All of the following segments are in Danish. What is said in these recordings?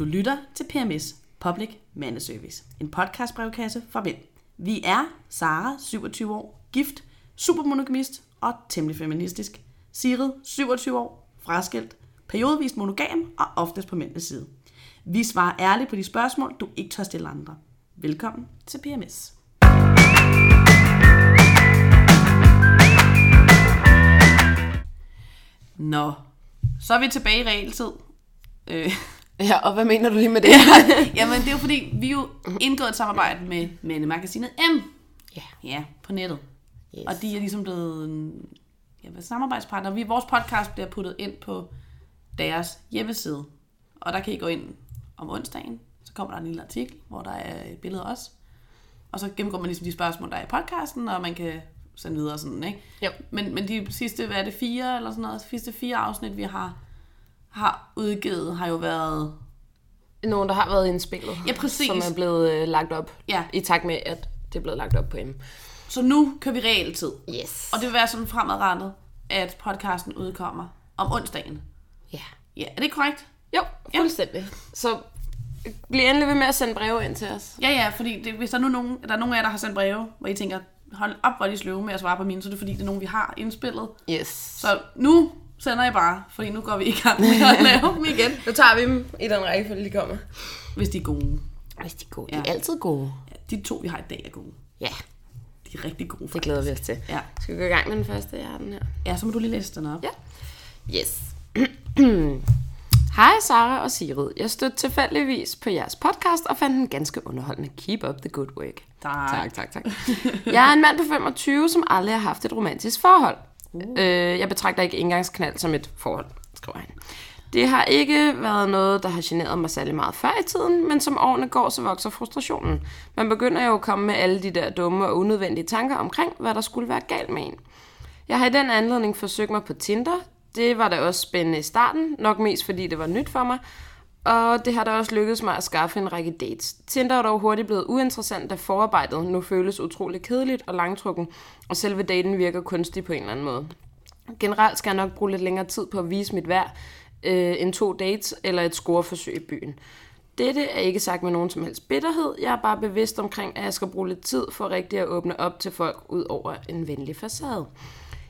Du lytter til PMS, Public Mandeservice, en podcastbrevkasse for mænd. Vi er Sara, 27 år, gift, supermonogamist og temmelig feministisk. Sigrid, 27 år, fraskilt, periodvist monogam og oftest på mændenes side. Vi svarer ærligt på de spørgsmål, du ikke tør stille andre. Velkommen til PMS. Nå, så er vi tilbage i realtid. Øh. Ja, og hvad mener du lige med det? Jamen, det er jo fordi, vi jo indgået et samarbejde med mandemagasinet M. Ja. Ja, på nettet. Yes. Yes. Og de er ligesom blevet en ja, hvad, samarbejdspartner. Vi, vores podcast bliver puttet ind på deres hjemmeside. Og der kan I gå ind om onsdagen. Så kommer der en lille artikel, hvor der er et billede af os. Og så gennemgår man ligesom de spørgsmål, der er i podcasten, og man kan sende videre og sådan, ikke? Jo. Men, men de sidste, hvad er det, fire eller sådan noget, sidste fire afsnit, vi har, har udgivet, har jo været Nogen, der har været indspillet. Ja, præcis. Som er blevet øh, lagt op. Ja. I takt med, at det er blevet lagt op på M. Så nu kører vi realtid. Yes. Og det vil være sådan fremadrettet, at podcasten udkommer om onsdagen. Ja. Ja, er det korrekt? Jo, fuldstændig. Så bliv endelig ved med at sende breve ind til os. Ja, ja, fordi det, hvis der nu er nogen, der er nogen af jer, der har sendt breve, hvor I tænker, hold op, hvor er de sløve med at svare på mine, så er det fordi, det er nogen, vi har indspillet. Yes. Så Så nu sender I bare, fordi nu går vi i gang med at lave dem igen, nu tager vi dem i den rækkefølge, de kommer. hvis de er gode. Hvis de er gode. De er altid gode. Ja, de to, vi har i dag, er gode. Ja, De er rigtig gode. det For. glæder vi os til. Ja. Skal vi gå i gang med den første? Jeg har den her. ja, så må du lige læse den op. Ja. Yes. Hej Sara og Sigrid. Jeg stødte tilfældigvis på jeres podcast og fandt den ganske underholdende. Keep up the good work. Tak. tak, tak. tak. Jeg er en mand på 25, som aldrig har haft et romantisk forhold. Uh. Jeg betragter ikke engangsknald som et forhold, skriver han. Det har ikke været noget, der har generet mig særlig meget før i tiden, men som årene går, så vokser frustrationen. Man begynder jo at komme med alle de der dumme og unødvendige tanker omkring, hvad der skulle være galt med en. Jeg har i den anledning forsøgt mig på Tinder. Det var da også spændende i starten, nok mest fordi det var nyt for mig. Og det har da også lykkedes mig at skaffe en række dates. Tinder er dog hurtigt blevet uinteressant, da forarbejdet nu føles utrolig kedeligt og langtrukken, og selve daten virker kunstig på en eller anden måde. Generelt skal jeg nok bruge lidt længere tid på at vise mit værd øh, end to dates eller et scoreforsøg i byen. Dette er ikke sagt med nogen som helst bitterhed. Jeg er bare bevidst omkring, at jeg skal bruge lidt tid for rigtig at åbne op til folk ud over en venlig facade.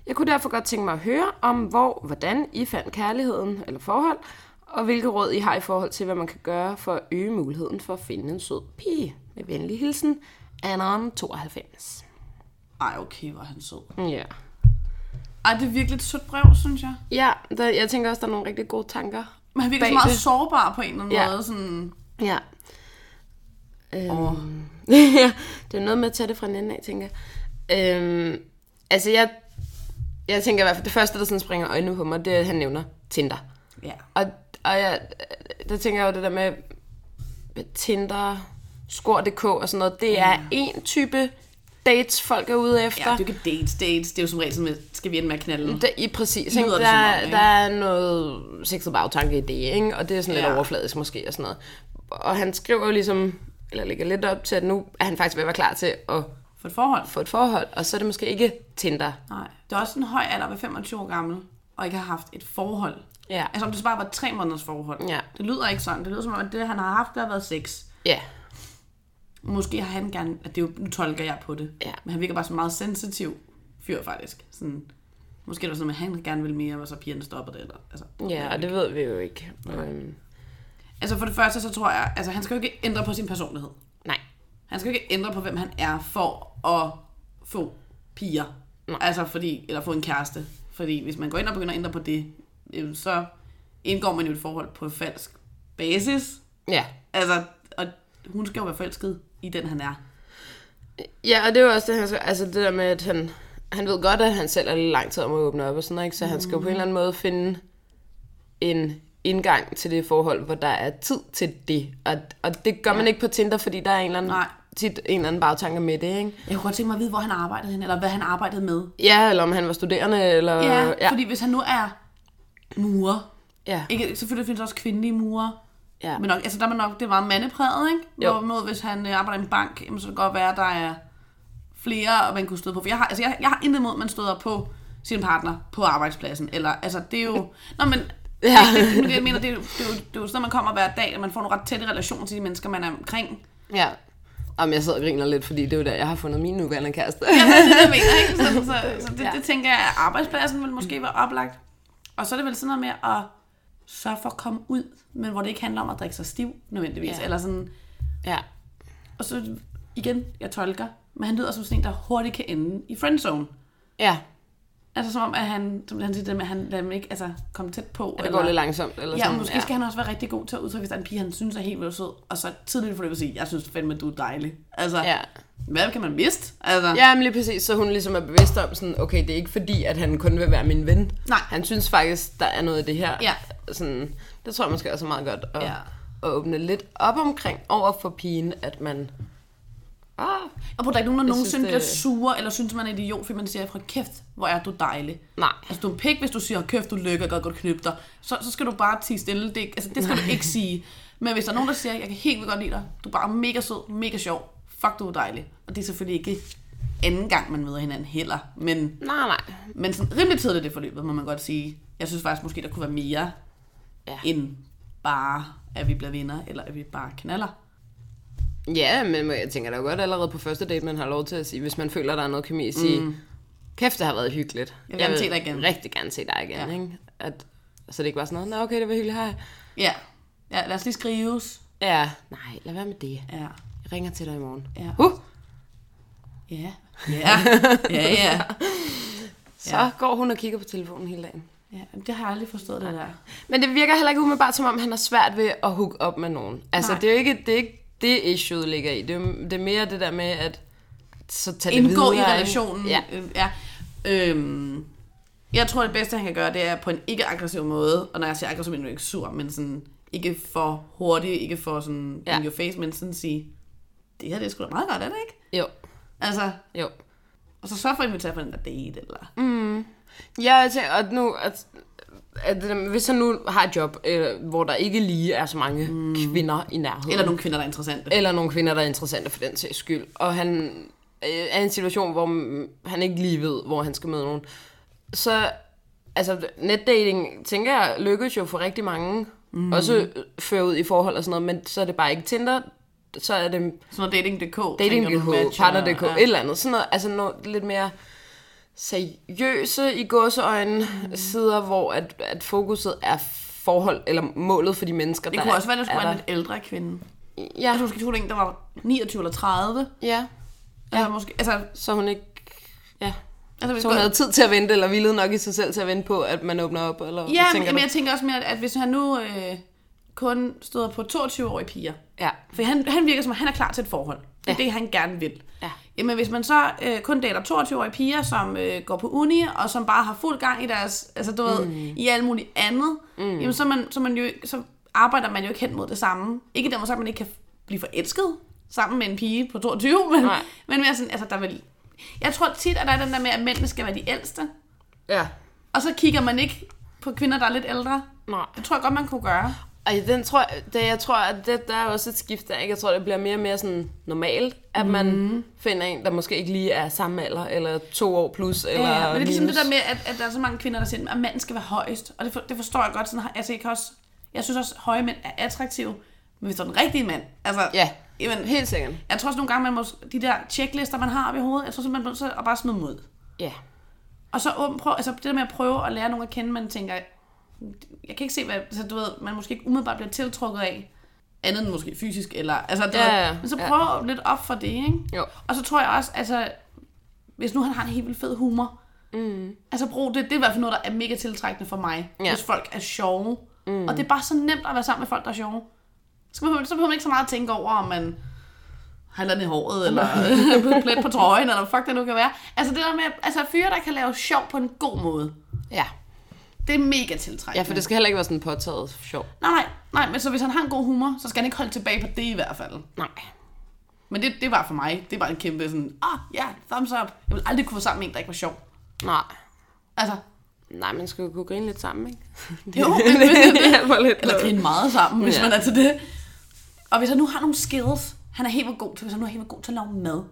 Jeg kunne derfor godt tænke mig at høre om, hvor, hvordan I fandt kærligheden eller forhold, og hvilke råd I har i forhold til, hvad man kan gøre for at øge muligheden for at finde en sød pige. Med venlig hilsen, Anon 92. Ej, okay, hvor er han sød. Ja. Ej, det er virkelig et sødt brev, synes jeg. Ja, der, jeg tænker også, der er nogle rigtig gode tanker. Men han virker så Bag meget det. sårbar på en eller anden Ja. måde. Sådan, Ja. Øhm. Åh. ja, det er noget med at tage det fra en ende af, tænker jeg. Øhm, altså, jeg, jeg tænker i hvert fald, det første, der sådan springer øjnene på mig, det er, at han nævner Tinder. ja. Og, og jeg, der tænker jeg jo det der med Tinder, Skor.dk og sådan noget, det er en type dates, folk er ude efter. Ja, det er jo ikke dates, dates. Det er jo som regel sådan, med, skal vi ende med at knalde? Der, I præcis, ikke? Lyder det Der, som om, meget, ikke? Mm. der er noget sexet bagtanke i det, ikke? og det er sådan lidt Ja. ja. overfladisk måske og sådan noget. Og han skriver jo ligesom, eller lægger lidt op til, at nu er han faktisk ved at være klar til at For et forhold? få et forhold, og så er det måske ikke Tinder. Nej. Det er også en høj alder, ved 25 år gammel, og ikke har haft et forhold. Ja. Altså om det så bare var tre måneders forhold. Ja. Det lyder ikke sådan. Det lyder som om, at det, han har haft, der har været sex. Ja, Måske har han gerne... At det er jo, nu tolker jeg på det. Ja. Men han virker bare så meget sensitiv fyr, faktisk. Sådan, måske det var sådan, at han gerne ville mere, og så pigerne stopper det. Eller, altså, ja og det ved vi jo ikke. Øhm, altså for det første, så tror jeg... Altså han skal jo ikke ændre på sin personlighed. nej, Han skal jo ikke ændre på, hvem han er for at få piger. Nej. Altså fordi, eller få en kæreste. Fordi hvis man går ind og begynder at ændre på det, øh, så indgår man jo et forhold på falsk basis. ja. Altså, og hun skal jo være forelsket i den, han er. Ja, og det er jo også det, han skal, altså det der med, at han, han ved godt, at han selv er lidt lang tid om at åbne op og sådan noget, ikke? så han skal jo på en eller anden måde finde en indgang til det forhold, hvor der er tid til det. Og, og det gør man ikke på Tinder, fordi der er en eller anden, Nej. tit en eller anden bagtanke med det, ikke? Jeg kunne godt tænke mig at vide, hvor han arbejdede hen, eller hvad han arbejdede med. Ja, eller om han var studerende, eller... Ja, Øh, ja. ja. fordi hvis han nu er murer, ja. ikke, selvfølgelig findes der også kvindelige murer, ja. Men nok, altså der er man nok, det er meget mandepræget, ikke? Jo. Hvorimod hvis han øh, arbejder i en bank, jamen, så kan det godt være, at der er flere, og man kunne støde på. For jeg har, altså, jeg, jeg har intet imod, at man støder på sin partner på arbejdspladsen. Eller, altså det er jo... Nå, men Ja. Det, men det, jeg mener, det, er jo- det, er jo, det er jo sådan, noget, man kommer hver dag, at man får nogle ret tætte relationer til de mennesker, man er omkring. ja. Jamen, jeg sidder og griner lidt, fordi det er jo der, jeg har fundet min nuværende kæreste. Ja, det er det, jeg mener, ikke? Så, så, så det, det tænker jeg, at arbejdspladsen vil måske være oplagt. Og så er det vel sådan noget med at sørge for at komme ud, men hvor det ikke handler om at drikke sig stiv, nødvendigvis. Ja. Ja. Eller sådan, ja. og så igen, jeg tolker, men han lyder som sådan en, der hurtigt kan ende i friendzone. Ja, Altså som om, at han, som han siger, det med, at han lader dem ikke altså, komme tæt på. det går lidt langsomt. Eller Ja, sådan. og måske ja. skal han også være rigtig god til at udtrykke, hvis der er en pige, han synes er helt vildt sød, og så tidligt for det at sige, jeg synes fandme, du er dejlig. Altså, ja. Ja. hvad kan man miste? Altså, Ja, men lige præcis, så hun ligesom er bevidst om sådan, okay, det er ikke fordi, at han kun vil være min ven. Nej. Han synes faktisk, der er noget af det her. Ja. Sådan, det tror jeg måske også er meget godt at, Ja. ja. at åbne lidt op omkring over for pigen, at man... Ah, Og på der er ikke nogen, der Jeg synes, nogensinde det- bliver sure, eller synes, man er en idiot, fordi man siger, fra kæft, hvor er du dejlig. nej. Altså, du er en pik, hvis du siger, kæft, du lykker, jeg kan godt knyppe dig. Så, så skal du bare tige stille. Det, altså, det skal du ikke sige. Men hvis der er nogen, der siger, jeg kan helt vildt godt lide dig, du er bare mega sød, mega sjov, fuck, du er dejlig. Og det er selvfølgelig ikke anden gang, man møder hinanden heller. Men, Nej, nej. men sådan rimelig tidligt i det forløbet, må man godt sige. Jeg synes faktisk, måske der kunne være mere, Ja. end bare, at vi bliver venner, eller at vi bare knaller. Ja, men jeg tænker da godt allerede på første date, man har lov til at sige, hvis man føler, der er noget kemi, sige, mm. kæft, det har været hyggeligt. Jeg vil gerne se dig igen." rigtig gerne se dig igen, Ja. ja. ikke? At, så det ikke var sådan noget, nå okay, det var hyggeligt, hej. Ja, ja lad os lige skrives. Ja, nej, lad være med det. Ja. Jeg ringer til dig i morgen. Ja. Uh, Ja. Ja. Ja, ja. så Ja. ja. går hun og kigger på telefonen hele dagen. ja det har jeg aldrig forstået, det der. Men det virker heller ikke umiddelbart, som om han har svært ved at hook op med nogen. Altså, Nej. det er jo ikke det, er ikke det issue, der ligger i. Det er, jo- det er mere det der med, at så tage det Indgå videre. i ikke? relationen. Ja. Øh, ja. Øhm, jeg tror, det bedste, han kan gøre, det er på en ikke-aggressiv måde. Og når jeg siger aggressiv, mener jeg ikke sur, men sådan ikke for hurtigt, ikke for sådan ja. Ja. in your face, men sådan sige, det her det er sgu da meget godt, er det ikke? Jo, Altså, jo. og så sørg for at invitere på den der date, eller... Mm. Ja, altså, og nu, at, at, det der- hvis han nu har et job, øh, hvor der ikke lige er så mange mm. kvinder i nærheden. Eller nogle kvinder, der er interessante. eller nogle kvinder, der er interessante for den sags skyld. Og han øh, er i en situation, hvor mm, han ikke lige ved, hvor han skal møde nogen. Så, altså, netdating, tænker jeg, lykkes jo for rigtig mange. Mhm. Mm. Også øh, fører ud i forhold og sådan noget, men så er det bare ikke Tinder, så er det Sådan noget dating.dk. tænker du, dating.dk, matcher, partner.dk, ja. et eller andet. Sådan noget, altså noget lidt mere seriøse i godseøjne Mhm. mm. sider, hvor at, at fokuset er forhold, eller målet for de mennesker, Det der kunne er- også være, at det skulle er være en lidt ældre kvinde. der. Jeg Ja, tror, du skal tro, det er en, der var 29 eller 30. ja. Ja. Altså, måske, altså, så hun ikke... Ja. altså, hvis Så hun godt- havde tid til at vente, eller ville nok i sig selv til at vente på, at man åbner op, eller Ja, hvad men, tænker men du? jeg tænker også mere, at- at hvis han nu øh, kun støder på 22-årige piger, Ja. for han, han virker som, at han er klar til et forhold. Det er ja. Ja. det, han gerne vil. Ja. Jamen, hvis man så øh, kun dater 22-årige piger, som øh, går på uni, og som bare har fuld gang i deres, altså du mm. ved, i alt muligt andet, mm. jamen så, er man, så, er man jo, ikke- så arbejder man jo ikke hen mod det samme. Ikke dermed, så man ikke kan blive forelsket sammen med en pige på 22, men, Nej. men mere sådan, altså der vil... Jeg tror tit, at der er den der med, at mændene skal være de ældste, Ja. og så kigger man ikke på kvinder, der er lidt ældre. Nej. Det tror jeg godt, man kunne gøre. Ej, den tror jeg, det, jeg tror, at det, der er også et skift der, ikke? Jeg tror, det bliver mere og mere sådan normalt, at mm. man finder en, der måske ikke lige er samme alder, eller to år plus, eller Ja, men det er ligesom det minus. der med, at, at der er så mange kvinder, der siger, at manden skal være højst. Og det, for, det forstår jeg godt. Sådan, har- altså, jeg, kan også, jeg synes også, at høje mænd er attraktive. Men hvis du er den rigtige mand, altså... Ja, Jamen, helt sikkert. jeg tror også nogle gange, man må, de der checklister, man har op i hovedet, jeg tror simpelthen, man er nødt til at bare smide mod. Ja. Og så åben, prøv, altså det der med at prøve at lære nogen at kende, man tænker, jeg kan ikke se, hvad, altså, du ved, man måske ikke umiddelbart bliver tiltrukket af, andet end måske fysisk, eller, altså, du Ja, ved, ja, men så ja. prøv ja. lidt op for det, ikke? Jo. Og så tror jeg også, altså, hvis nu han har en helt vildt fed humor, mm. altså brug det, det er i hvert fald noget, der er mega tiltrækkende for mig, ja. Ja. hvis folk er sjove. Mm. Og det er bare så nemt at være sammen med folk, der er sjove. Så behøver, så behøver man ikke så meget at tænke over, om man har et eller andet i håret, eller plet på trøjen, eller hvad fuck det nu kan være. Altså det der med, altså fyre, der kan lave sjov på en god måde, Ja. det er mega tiltrækkende. Ja, for det skal heller ikke være sådan påtaget sjov. Nej, nej, nej, men så hvis han har en god humor, så skal han ikke holde tilbage på det i hvert fald. Nej. Men det, det var for mig, det var en kæmpe sådan, ah, ja, thumbs up. Jeg ville aldrig kunne være sammen med en, der ikke var sjov. Nej. Altså, Nej, man skal jo kunne grine lidt sammen, ikke? jo, men, det hjælper lidt. eller grine meget sammen, hvis ja. Ja. man er til det. Og hvis han nu har nogle skills, han er helt vildt god til, hvis han nu er helt vildt god til at lave mad,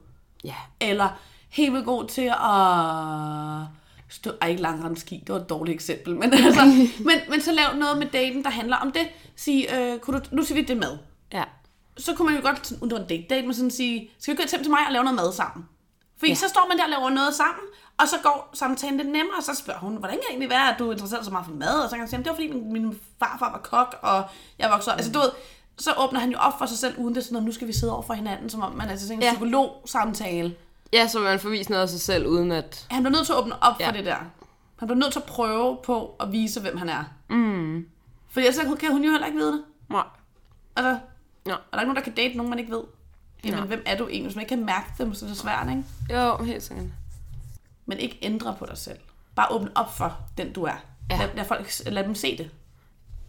Ja. eller helt vildt god til at Stå, ej, ikke langrendski, det var et dårligt eksempel. Men, altså, men, men så lav noget med daten, der handler om det. Sig, øh, kunne du, nu siger vi det er mad. Ja. Så kunne man jo godt, sådan, uh, det var en date, date men sådan sige, skal vi gå et hjem til mig og lave noget mad sammen? Fordi ja. så står man der og laver noget sammen, og så går samtalen lidt nemmere, og så spørger hun, hvordan kan det egentlig være, at du er interesseret så meget for mad? Og så kan han sige, "Jamen, det var fordi min, min farfar var kok, og jeg voksede op. Altså du ved, så åbner han jo op for sig selv, uden det er sådan noget, nu skal vi sidde over for hinanden, som om man er til sådan en ja. Ja. psykolog-samtale. Ja, så man får vist noget af sig selv, uden at... Han bliver nødt til at åbne op ja. Ja. for det der. Han bliver nødt til at prøve på at vise, hvem han er. Mm. For ellers så kan hun jo heller ikke vide det. Nej. Altså, Nå. er der ikke nogen, der kan date nogen, man ikke ved? Jamen, Nej. hvem er du egentlig? Hvis man ikke kan mærke dem, så er det svært, ikke? Jo, helt sikkert. Men ikke ændre på dig selv. Bare åbne op for den, du er. Ja. Ja. Lad, lad, folk, lad dem se det.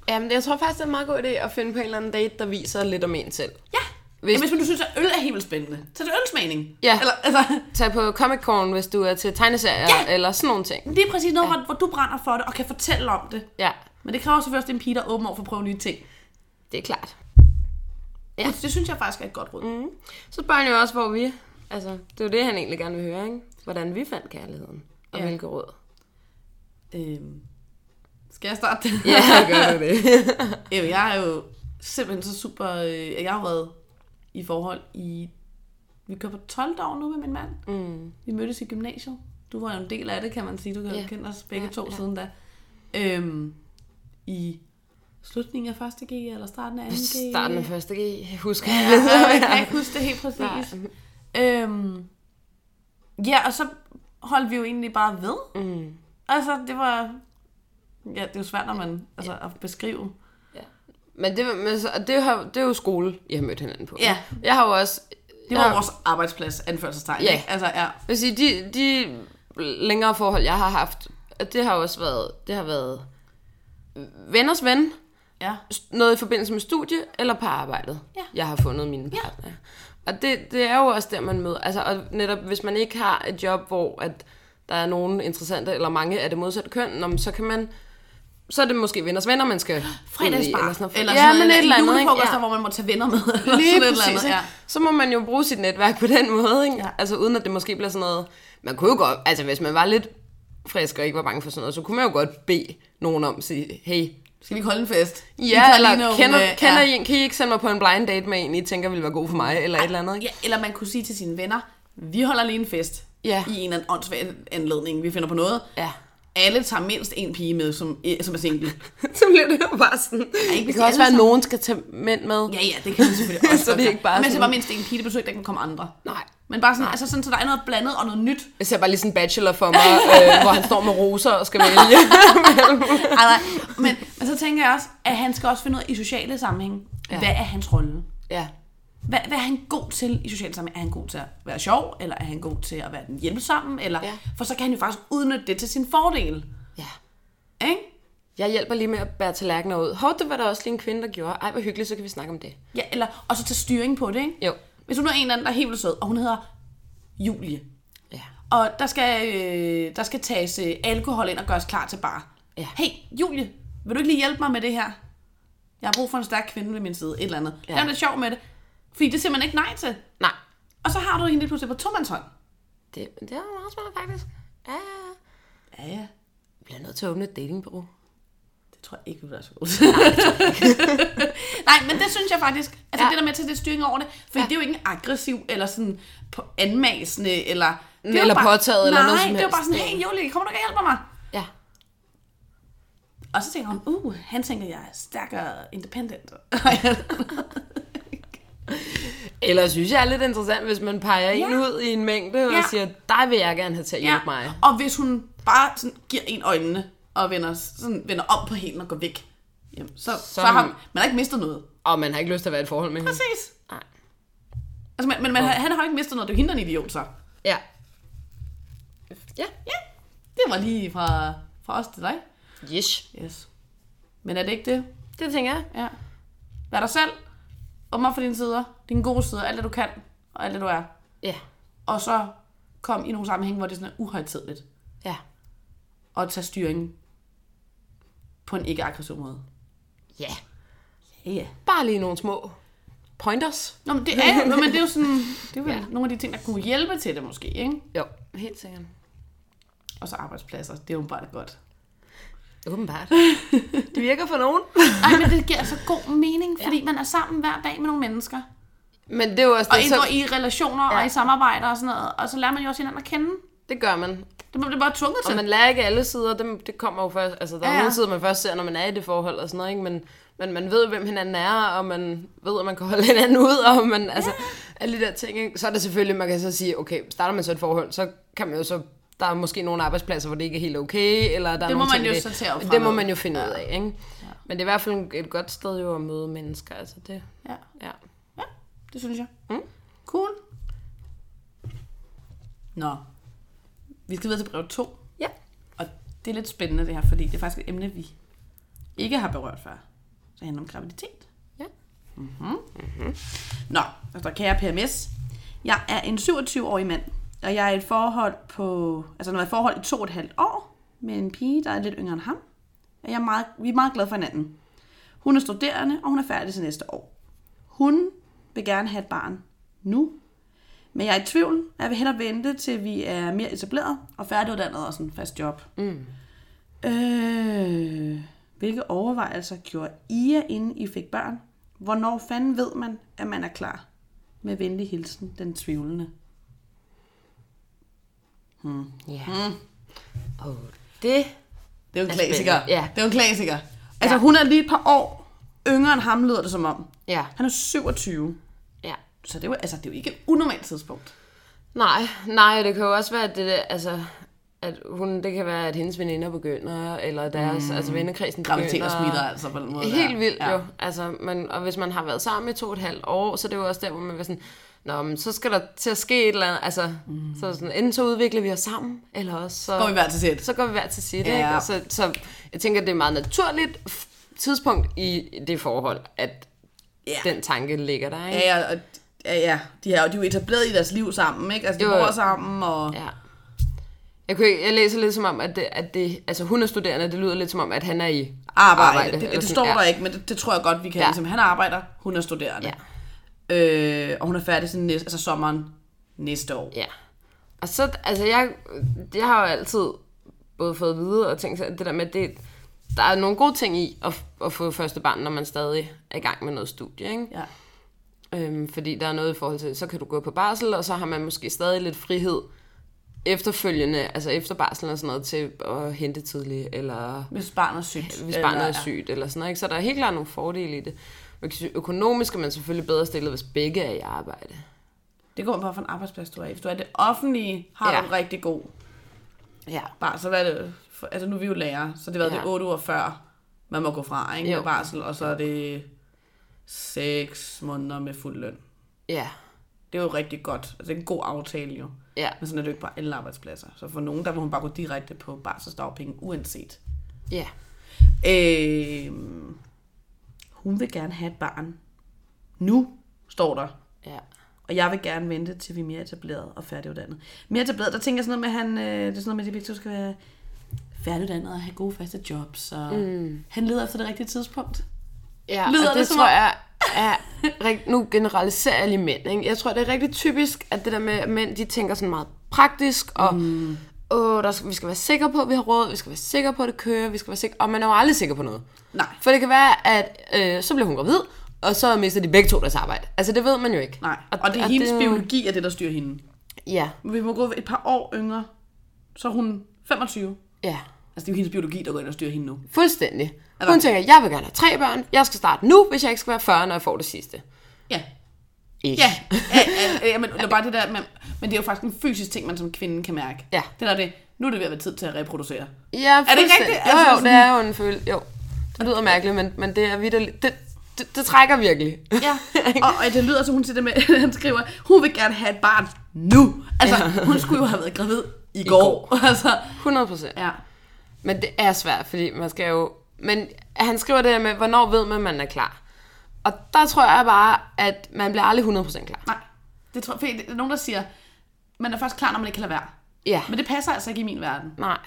Jamen, jeg tror faktisk, det er en meget god idé at finde på en eller anden date, der viser lidt om en selv. Ja! Hvis, Hvis- Jamen, hvis man, du synes, at øl er helt vildt spændende, så er det ølsmagning. Ja. Eller, altså, Tag på Comic Con, hvis du er til tegneserier Ja! ja! eller sådan nogle ting. det er præcis noget, ja. hvor, hvor du brænder for det og kan fortælle om det. Ja, Men det kræver selvfølgelig også, at det er en pige, der er åben over for at prøve nye ting. det er klart. Ja. Det, det synes jeg faktisk er et godt råd. Mm. Så spørger han jo også, hvor vi... Altså, det er jo det, han egentlig gerne vil høre, ikke? Hvordan vi fandt kærligheden. Og Ja. ja. hvilke råd. Øhm, skal jeg starte? Ja, gør du det. Jamen, jeg er jo simpelthen så super... Øh, jeg har jo været i forhold i... Vi kører på 12 år nu med min mand. Mm. Vi mødtes i gymnasiet. Du var jo en del af det, kan man sige. Du kan yeah. Ja. kende os begge Ja, to ja. siden da. Øhm, I slutningen af 1. G eller starten af 2. G? Starten af første G, husker Ja, jeg. jeg kan ikke huske det helt præcis. Nej. Øhm, ja, og så holdt vi jo egentlig bare ved. Mm. Altså, det var... Ja, det er jo svært, når man... Altså, at beskrive. Men, det, men så, og det, har, det er jo skole, I har mødt hinanden på. Ja. Jeg har jo også... Det var jeg, vores arbejdsplads, anførselstegn. Ja. ikke? Altså, ja. Jeg vil sige, de, de længere forhold, jeg har haft, det har også været, det har været venners ven, Ja. noget i forbindelse med studie eller på arbejdet. Ja. Jeg har fundet mine partner. Og det, det er jo også der, man møder. Altså, og netop hvis man ikke har et job, hvor at der er nogen interessante, eller mange af det modsatte køn, nå, men så kan man så er det måske venners venner, man skal Fredagsbar. Eller sådan noget. Eller ja, sådan men et eller andet, ikke? julefrokoster, Ja. hvor man må tage venner med. Eller sådan et Lige eller præcis, andet, ikke? ja. Så må man jo bruge sit netværk på den måde, ikke? Ja. Ja. Altså uden at det måske bliver sådan noget... Man kunne jo godt... Altså hvis man var lidt frisk og ikke var bange for sådan noget, så kunne man jo godt bede nogen om at sige, hey, Skal vi ikke holde en fest? Vi Ja, tager eller lige nogle, kender, øh, kender ja. I en, kan I ikke sende mig på en blind date med en, I tænker ville være god for mig, eller et eller andet, ikke? Ja, eller man kunne sige til sine venner, vi holder lige en fest Ja. i en eller anden åndssvag anledning, vi finder på noget. Ja. Alle tager mindst en pige med, som, eh, som er single. så bliver det jo bare sådan... hvis det de kan også alle være, at sammen- nogen skal tage mænd med. Ja, ja, det kan man selvfølgelig også Så det er godt ikke bare Men så sådan- var mindst en pige, det betyder ikke, at der kan komme andre. Nej. Men bare sådan, altså sådan, så der er noget blandet og noget nyt. Jeg ser bare lige sådan en bachelor for mig, øh, hvor han står med roser og skal vælge. Ej, nej. Altså, Men, men så tænker jeg også, at han skal også finde ud af i sociale sammenhæng. Ja. Ja. Hvad er hans rolle? ja. Hvad, hvad er han god til i sociale sammenhæng? Er han god til at være sjov, eller er han god til at være den hjælpsomme? Eller, ja. Ja. For så kan han jo faktisk udnytte det til sin fordel. Ja. Ikke? Jeg hjælper lige med at bære tallerkener ud. Hov, det var der også lige en kvinde, der gjorde. Ej, hvor hyggeligt, så kan vi snakke om det. Ja, eller, og så tage styring på det. Ikke? Jo. Hvis du nu er en eller anden, der er helt vildt sød, og hun hedder Julie, Ja. og der skal, øh, der skal tages øh, alkohol ind og gøres klar til bar. Ja. Hey, Julie, vil du ikke lige hjælpe mig med det her? Jeg har brug for en stærk kvinde ved min side, et eller andet. Ja. Ja. Det er lidt sjov med det, fordi det siger man ikke nej til. Nej. Og så har du hende lige pludselig på tomandshånd. Det, det er meget smart, faktisk. Ja, ja, ja. Ja, ja. Jeg bliver nødt til at åbne et datingbureau. Det tror jeg ikke, vi bliver så gode til. Nej, Nej, men det synes jeg faktisk. Altså ja. Ja. det der med at tage det styring over det. For ja. det er jo ikke en aggressiv eller sådan på anmasende Mm. eller... Det er jo Eller påtaget eller noget Nej, som det er jo bare helst. sådan, hey Julie, kommer du ikke og hjælper mig? Ja. Og så tænker hun, uh, han tænker, jeg er stærkere independent. Eller synes jeg er lidt interessant, hvis man peger ja. en ud i en mængde ja. Ja. og siger, dig vil jeg gerne have til at hjælpe ja. mig. Og hvis hun bare sådan giver en øjnene og vender, sådan, vender om på hende og går væk, jamen, så, så, så Som- har man, man har ikke mistet noget. Og man har ikke lyst til at være i et forhold med hende. Præcis. Nej. Altså, men, men man, har- han har jo ikke mistet noget. Det er jo hende, der er en idiot, så. Ja. Ja. Ja, det var lige fra, fra os til dig. Yes. Yes. Men er det ikke det? Det tænker jeg. Ja. Vær dig selv. Åbn op for dine sider. Dine gode sider. Alt det, du kan. Og alt det, du er. Ja. Og så kom i nogle sammenhæng, hvor det sådan er uhøjtidligt. Ja. Og tage styringen på en ikke-aggressiv måde. Ja. Ja, ja. Bare lige nogle små pointers. Nå, men det er jo, nå, men det er jo sådan, det er vel ja. Ja. nogle af de ting, der kunne hjælpe til det måske, ikke? Jo, helt sikkert. Og så arbejdspladser. Det er åbenbart godt. Åbenbart. det virker for nogen. Ej, men det giver altså god mening, fordi ja. man er sammen hver dag med nogle mennesker. Men det er jo også Og det, indgår så, i relationer ja. og i samarbejder og sådan noget. Og så lærer man jo også hinanden at kende. det gør man. Det bliver bare tvunget til. Og man lærer ikke alle sider, det, det kommer jo først, altså der Ja, er ja. nogle sider, man først ser, når man er i det forhold og sådan noget, ikke? Men, men man ved, hvem hinanden er, og man ved, at man kan holde hinanden ud, og man, altså, alle de der ting, ikke? Så er det selvfølgelig, man kan så sige, okay, starter man så et forhold, så kan man jo så, der er måske nogle arbejdspladser, hvor det ikke er helt okay, eller der er Det må nogle man ting, jo det, så tage op Det må fremad. man jo finde ud af, ikke? Men det er i hvert fald et godt sted jo at møde mennesker, altså det, Ja, ja. ja det synes jeg. Mm. Cool. Nå. Vi skal videre til brev 2. Ja. Og det er lidt spændende det her, fordi det er faktisk et emne, vi ikke har berørt før. Så handler om graviditet. Mm-hmm. Ja. Nå, der står kære PMS. Jeg er en 27-årig mand, og jeg er i et forhold på... Altså, når jeg er i et forhold i to og et halvt år med en pige, der er lidt yngre end ham. Og jeg er meget, vi er meget glade for hinanden. Hun er studerende, og hun er færdig til næste år. Hun vil gerne have et barn nu, men jeg er i tvivl. og Jeg vil hellere vente, til vi er mere etableret og færdiguddannet og sådan fast job. Mm. Øh, hvilke overvejelser gjorde I jer, inden I fik børn? Hvornår fanden ved man, at man er klar? Med venlig hilsen, den tvivlende. Ja. Mm. Og det Det er jo en Det er klassiker. spændende, ja. Det er jo en klassiker. Altså, hun er lige et par år yngre end ham, lyder det som om. Ja, Han er 27. ja. Så det er jo, altså, det er jo ikke et unormalt tidspunkt. Nej, nej, det kan jo også være, at det der, altså, at hun, det kan være, at hendes veninder begynder, eller deres, mm. altså vennekredsen Graviditet og begynder. smitter altså på den måde. Helt der. vildt ja. jo. Altså, man, og hvis man har været sammen i to og et halvt år, så er det jo også der, hvor man vil sådan, Nå, men så skal der til at ske et eller andet. Altså, mm. så er det sådan, enten så udvikler vi os sammen, eller også så Går vi hver til sit. så går vi hver til sit. Ja. Ja. Ikke? Så, så jeg tænker, det er et meget naturligt f- tidspunkt i det forhold, at Ja. den tanke ligger der. Ikke? Ja, ja, og, ja, ja. De, er, jo- de er jo etableret i deres liv sammen, ikke? Altså, de Jo, bor jo. sammen, og... Ja. Jeg, kunne, ikke- jeg læser lidt som om, at, det, at det, altså hun er studerende, det lyder lidt som om, at han er i arbejde. Arbejde, arbejde det, eller det, det sådan, står ja. ja. der ikke, men det, det tror jeg godt, vi kan. Ja. Ja. Ligesom, han arbejder, hun er studerende. Ja. Ja. Øh, og hun er færdig sådan næste, altså sommeren næste år. Ja. Og så, altså jeg, jeg har jo altid både fået at vide og tænkt, at det der med, at det, der er nogle gode ting i at, at få første barn, når man stadig er i gang med noget studie, ikke? Ja. Øhm, fordi der er noget i forhold til, så kan du gå på barsel, og så har man måske stadig lidt frihed efterfølgende, altså efter barselen og sådan noget, til at hente tidligt, eller Hvis barnet er sygt. hvis barnet eller- er sygt, eller sådan noget, ikke? Så der er helt klart nogle fordele i det. Man kan sige, Økonomisk er man selvfølgelig bedre stillet, hvis begge er i arbejde. Det går på, for en arbejdsplads du er i. Hvis du er i det offentlige, har ja. Ja. du en rigtig god Ja. barsel. Hvad er det? For, altså, nu er vi jo lærere, så det har været ja. Ja. det 8 uger før, man må gå fra, ikke? Med Jo. barsel, og så er det 6 måneder med fuld løn. Ja. Det er jo rigtig godt. Altså, det er en god aftale, jo. Ja. Men sådan er det jo ikke på alle arbejdspladser. Så for nogen, der vil hun bare gå direkte på barselsdagpenge, uanset. Ja. Øh, hun vil gerne have et barn. Nu, står der. Ja. Og jeg vil gerne vente, til vi er mere etableret og færdiguddannet. Mere etableret, der tænker jeg sådan noget med, at han, øh, det er sådan noget med, at de begge to skal være færdiguddannet og have gode faste jobs. Og mm. Han leder efter det rigtige tidspunkt. Ja, Lyder Lyder og det det, det som tror om- jeg er, rigt- nu generaliserer jeg lige mænd, ikke? Jeg tror, det er rigtig typisk, at det der med, at mænd, de tænker sådan meget praktisk, og mm. åh, der skal, vi skal være sikre på, at vi har råd, vi skal være sikre på, at det kører, vi skal være sikre, og man er jo aldrig sikker på noget. Nej. For det kan være, at øh, så bliver hun gravid, og så mister de begge to deres arbejde. Altså, det ved man jo ikke. Nej. Og, og det er hendes det... biologi, er det, der styrer hende. Ja, Vi må gå et par år yngre, så er hun 25. ja. Altså, det er jo hendes biologi, der går ind og styrer hende nu. Fuldstændig. Altså- Hun tænker, jeg vil gerne have tre børn, jeg skal starte nu, hvis jeg ikke skal være 40, når jeg får det sidste. Ja, Ikke. Ja, ja, ja, ja men, det er bare det der, man, men det er jo faktisk en fysisk ting, man som kvinde kan mærke. Ja. Det der det, nu er det ved at være tid til at reproducere. det Ja, ikke fuldstændig. rigtigt? Jo, Altså, jo, sådan- det er jo en følelse. Jo, det lyder mærkeligt, men, men det er vidderligt. Det, det, det trækker virkelig. Ja. og, og det lyder, som hun siger det med, han skriver, hun vil gerne have et barn nu. Altså, hun skulle jo have været gravid i, går. altså, 100 procent. ja. Men det er svært, fordi man skal jo... Men han skriver det der med, hvornår ved man, at man er klar? Og der tror jeg bare, at man bliver aldrig 100% klar. Nej, det tror jeg, der er nogen, der siger, man er først klar, når man ikke kan lade være. Ja. Men det passer altså ikke i min verden, Nej.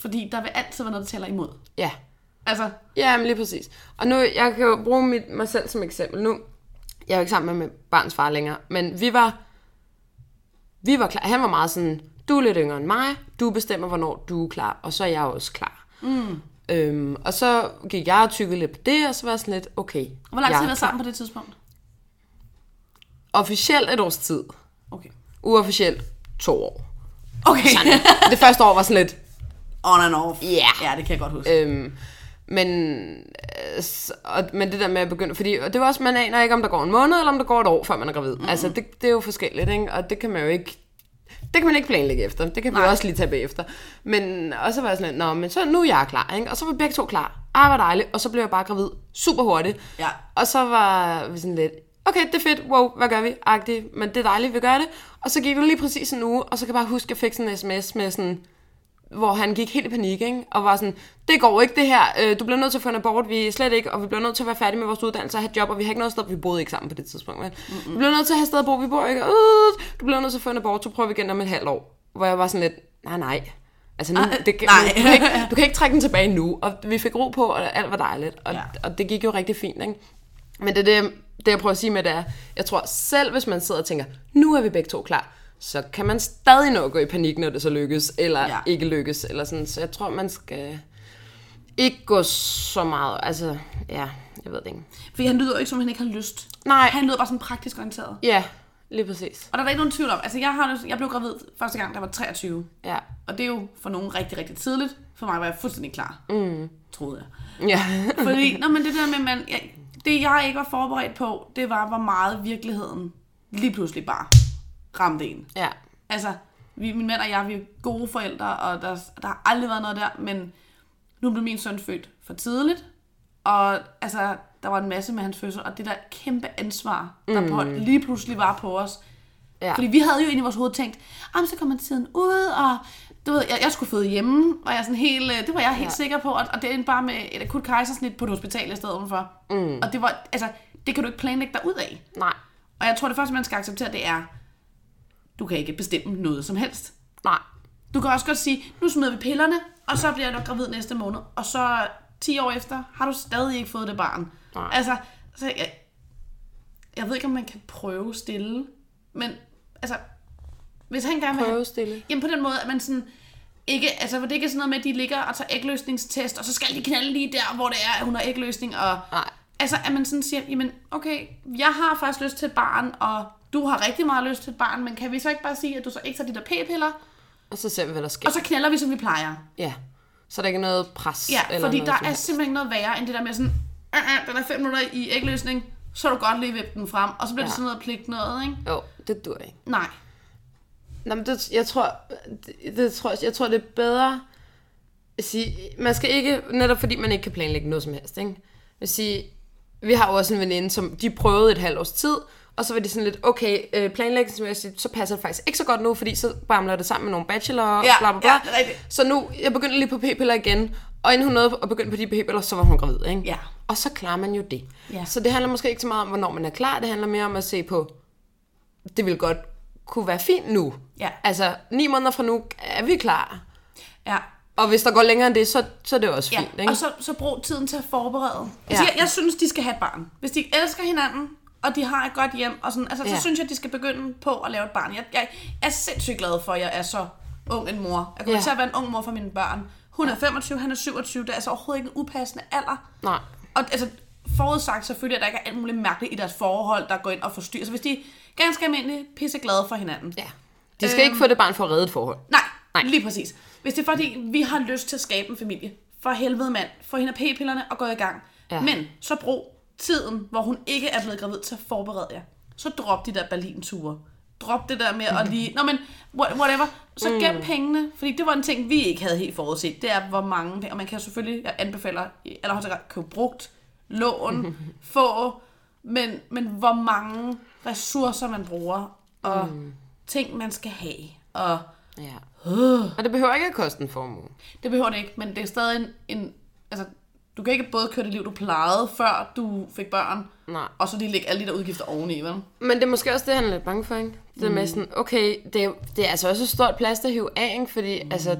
fordi der vil altid være noget, der taler imod. Ja. Altså, Ja, men lige præcis. Og nu, jeg kan jo bruge mit, mig selv som eksempel. Nu, jeg er jo ikke sammen med min barns far længere, men vi var, vi var klar. Han var meget sådan, Du er lidt yngre end mig. Du bestemmer, hvornår du er klar. Og så er jeg også klar. Mm. Øhm, og så gik jeg og tykkede lidt på det, og så var jeg sådan lidt, okay. Hvor lang tid jeg har I er været sammen på det tidspunkt? klar. Officielt et års tid. Okay. Uofficielt to år. Okay. det første år var sådan lidt, On and off. Ja. Ja, det kan jeg godt huske. Øhm, men, øh, s- og, men det der med at begynde, fordi og det var også, man aner ikke, om der går en måned, eller om der går et år, før man er gravid. Mm. Altså, det, det er jo forskelligt, ikke? og det kan man jo ikke, det kan man ikke planlægge efter. Det kan vi også lige tage bagefter. Men, og så var jeg sådan lidt, nå, men så nu er jeg klar, ikke? Og så var begge to klar. Ah, hvor dejligt. Og så blev jeg bare gravid super hurtigt. Ja. Og så var vi sådan lidt, okay, det er fedt, wow, hvad gør vi? Agtigt, men det er dejligt, vi gør det. Og så gik det lige præcis en uge, og så kan jeg bare huske, at jeg fik sådan en sms med sådan, hvor han gik helt i panik, ikke? og var sådan, det går ikke det her, Øh, du bliver nødt til at få en abort, vi er slet ikke, og vi bliver nødt til at være færdige med vores uddannelse og have et job, og vi har ikke noget sted, vi boede ikke sammen på det tidspunkt, men vi bliver nødt til at have et sted at bo, vi bor ikke, øh, du bliver nødt til at få en abort, så prøver vi igen om et halvt år, hvor jeg var sådan lidt, nej nej, altså nu, det, kan- nej. Du, kan ikke, du kan ikke trække den tilbage nu, og vi fik ro på, og alt var dejligt, og, Ja. ja. og det gik jo rigtig fint, ikke? men det, er det, det jeg prøver at sige med det er, jeg tror selv hvis man sidder og tænker, nu er vi begge to klar, så kan man stadig nå at gå i panik, når det så lykkes, eller Ja. ja. ikke lykkes, eller sådan. Så jeg tror, man skal ikke gå så meget, altså, ja, jeg ved det ikke. Fordi han lyder jo ikke, som om han ikke har lyst. Nej, Han lyder bare sådan praktisk orienteret. ja, lige præcis, Og der er der ikke nogen tvivl om. Altså, jeg, har, lyst- jeg blev gravid første gang, da jeg var 23. ja. Og det er jo for nogen rigtig, rigtig tidligt. For mig var jeg fuldstændig klar. Mm. Troede jeg. Ja, Fordi, nå, men det der med, man, jeg, det jeg ikke var forberedt på, det var, hvor meget virkeligheden lige pludselig bare ramte en. ja, Altså, vi, min mand og jeg, vi er gode forældre, og der, der har aldrig været noget der, men nu blev min søn født for tidligt, og altså, der var en masse med hans fødsel, og det der kæmpe ansvar, der mm. på, lige pludselig var på os. Ja. Fordi vi havde jo inde i vores hoved tænkt, "Ah, men så kommer tiden ud, og du ved, jeg, jeg skulle føde hjemme, og jeg er sådan helt, øh, det var jeg helt ja. Ja. sikker på, og, og det endte bare med et akut kejsersnit på et hospital i stedet for. Mm. Og det var, altså, det kan du ikke planlægge dig ud af. nej, Og jeg tror, det første, man skal acceptere, det er, du kan ikke bestemme noget som helst. nej, Du kan også godt sige, nu smider vi pillerne, og så bliver jeg nok gravid næste måned. Og så 10 år efter har du stadig ikke fået det barn. Nej. Altså, så jeg, jeg ved ikke, om man kan prøve stille, men altså, hvis han gerne vil have, prøve stille. Jamen på den måde, at man sådan ikke, altså hvor det ikke er sådan noget med, at de ligger og tager ægløsningstest, og så skal de knalde lige der, hvor det er, at hun har ægløsning, og Nej. altså at man sådan siger, jamen okay, jeg har faktisk lyst til et barn, og du har rigtig meget lyst til et barn, men kan vi så ikke bare sige, at du så ikke tager de der p-piller, Og så ser vi, hvad der sker. og så knaller vi, som vi plejer. Ja, så er der ikke noget pres. Ja, eller fordi noget der sådan. er simpelthen ikke noget værre, end det der med sådan, "Øh, øh, den er fem minutter i ægløsning, så er du godt lige vippe den frem, og så bliver ja. det Ja. sådan noget pligt noget, ikke? Jo, det dur ikke. Nej. Nå, men det, jeg, tror, det, det tror, jeg tror, det er bedre at sige, man skal ikke, netop fordi man ikke kan planlægge noget som helst, ikke? Jeg vil sige, vi har jo også en veninde, som de prøvede et halvt års tid, og så var de sådan lidt, okay, øh, planlægningsmæssigt, så passer det faktisk ikke så godt nu, fordi så bamler det sammen med nogle bachelor, og Ja, bla, bla, bla. ja, det er rigtigt. Så nu, jeg begynder lige på p-piller igen, og inden hun nåede at begynde på de p-piller, så var hun gravid, ikke? Ja. Og så klarer man jo det. Ja. Så det handler måske ikke så meget om, hvornår man er klar, det handler mere om at se på, det vil godt kunne være fint nu. Ja. Altså, ni måneder fra nu er vi klar. Ja. Og hvis der går længere end det, så, så er det også Ja, fint. ikke? og så, så brug tiden til at forberede. Altså, Ja. jeg, jeg synes, de skal have et barn. Hvis de elsker hinanden, og de har et godt hjem, og sådan, altså, så Ja. synes jeg, de skal begynde på at lave et barn. Jeg, jeg er sindssygt glad for, at jeg er så ung en mor. Jeg kommer Ja. til at være en ung mor for mine børn. Hun er 25, han er 27. Det er altså overhovedet ikke en upassende alder. Nej. Og altså, forudsagt selvfølgelig, at der ikke er alt muligt mærkeligt i deres forhold, der går ind og forstyrrer. Så hvis de er ganske almindeligt pisseglade for hinanden. Ja. De skal øhm... ikke få det barn for at redde et forhold. Nej, Nej, Nej. lige præcis. Hvis det er fordi, vi har lyst til at skabe en familie, for helvede mand, få hende af p-pillerne og gå i gang. Ja. Ja. Men så brug tiden, hvor hun ikke er blevet gravid, til at forberede jer. Så drop de der Berlin-ture. Drop det der med at lige... Nå, men what- whatever. Så gem mm. pengene. Fordi det var en ting, vi ikke havde helt forudset. Det er, hvor mange penge... Og man kan selvfølgelig... Jeg anbefaler i allerhøjeste grad at købe brugt, lån, få... Men, men hvor mange ressourcer man bruger, og mm. ting man skal have, og Ja. Og det behøver ikke at koste en formue. det behøver det ikke, men det er stadig en, en... Altså, du kan ikke både køre det liv, du plejede, før du fik børn, Nej. og så lige lægge alle de der udgifter oveni, vel? Men det er måske også det, han er lidt bange for, ikke? Det mm. med sådan, okay, det er, det er altså også et stort plads at hive af, ikke? Fordi, mm. altså,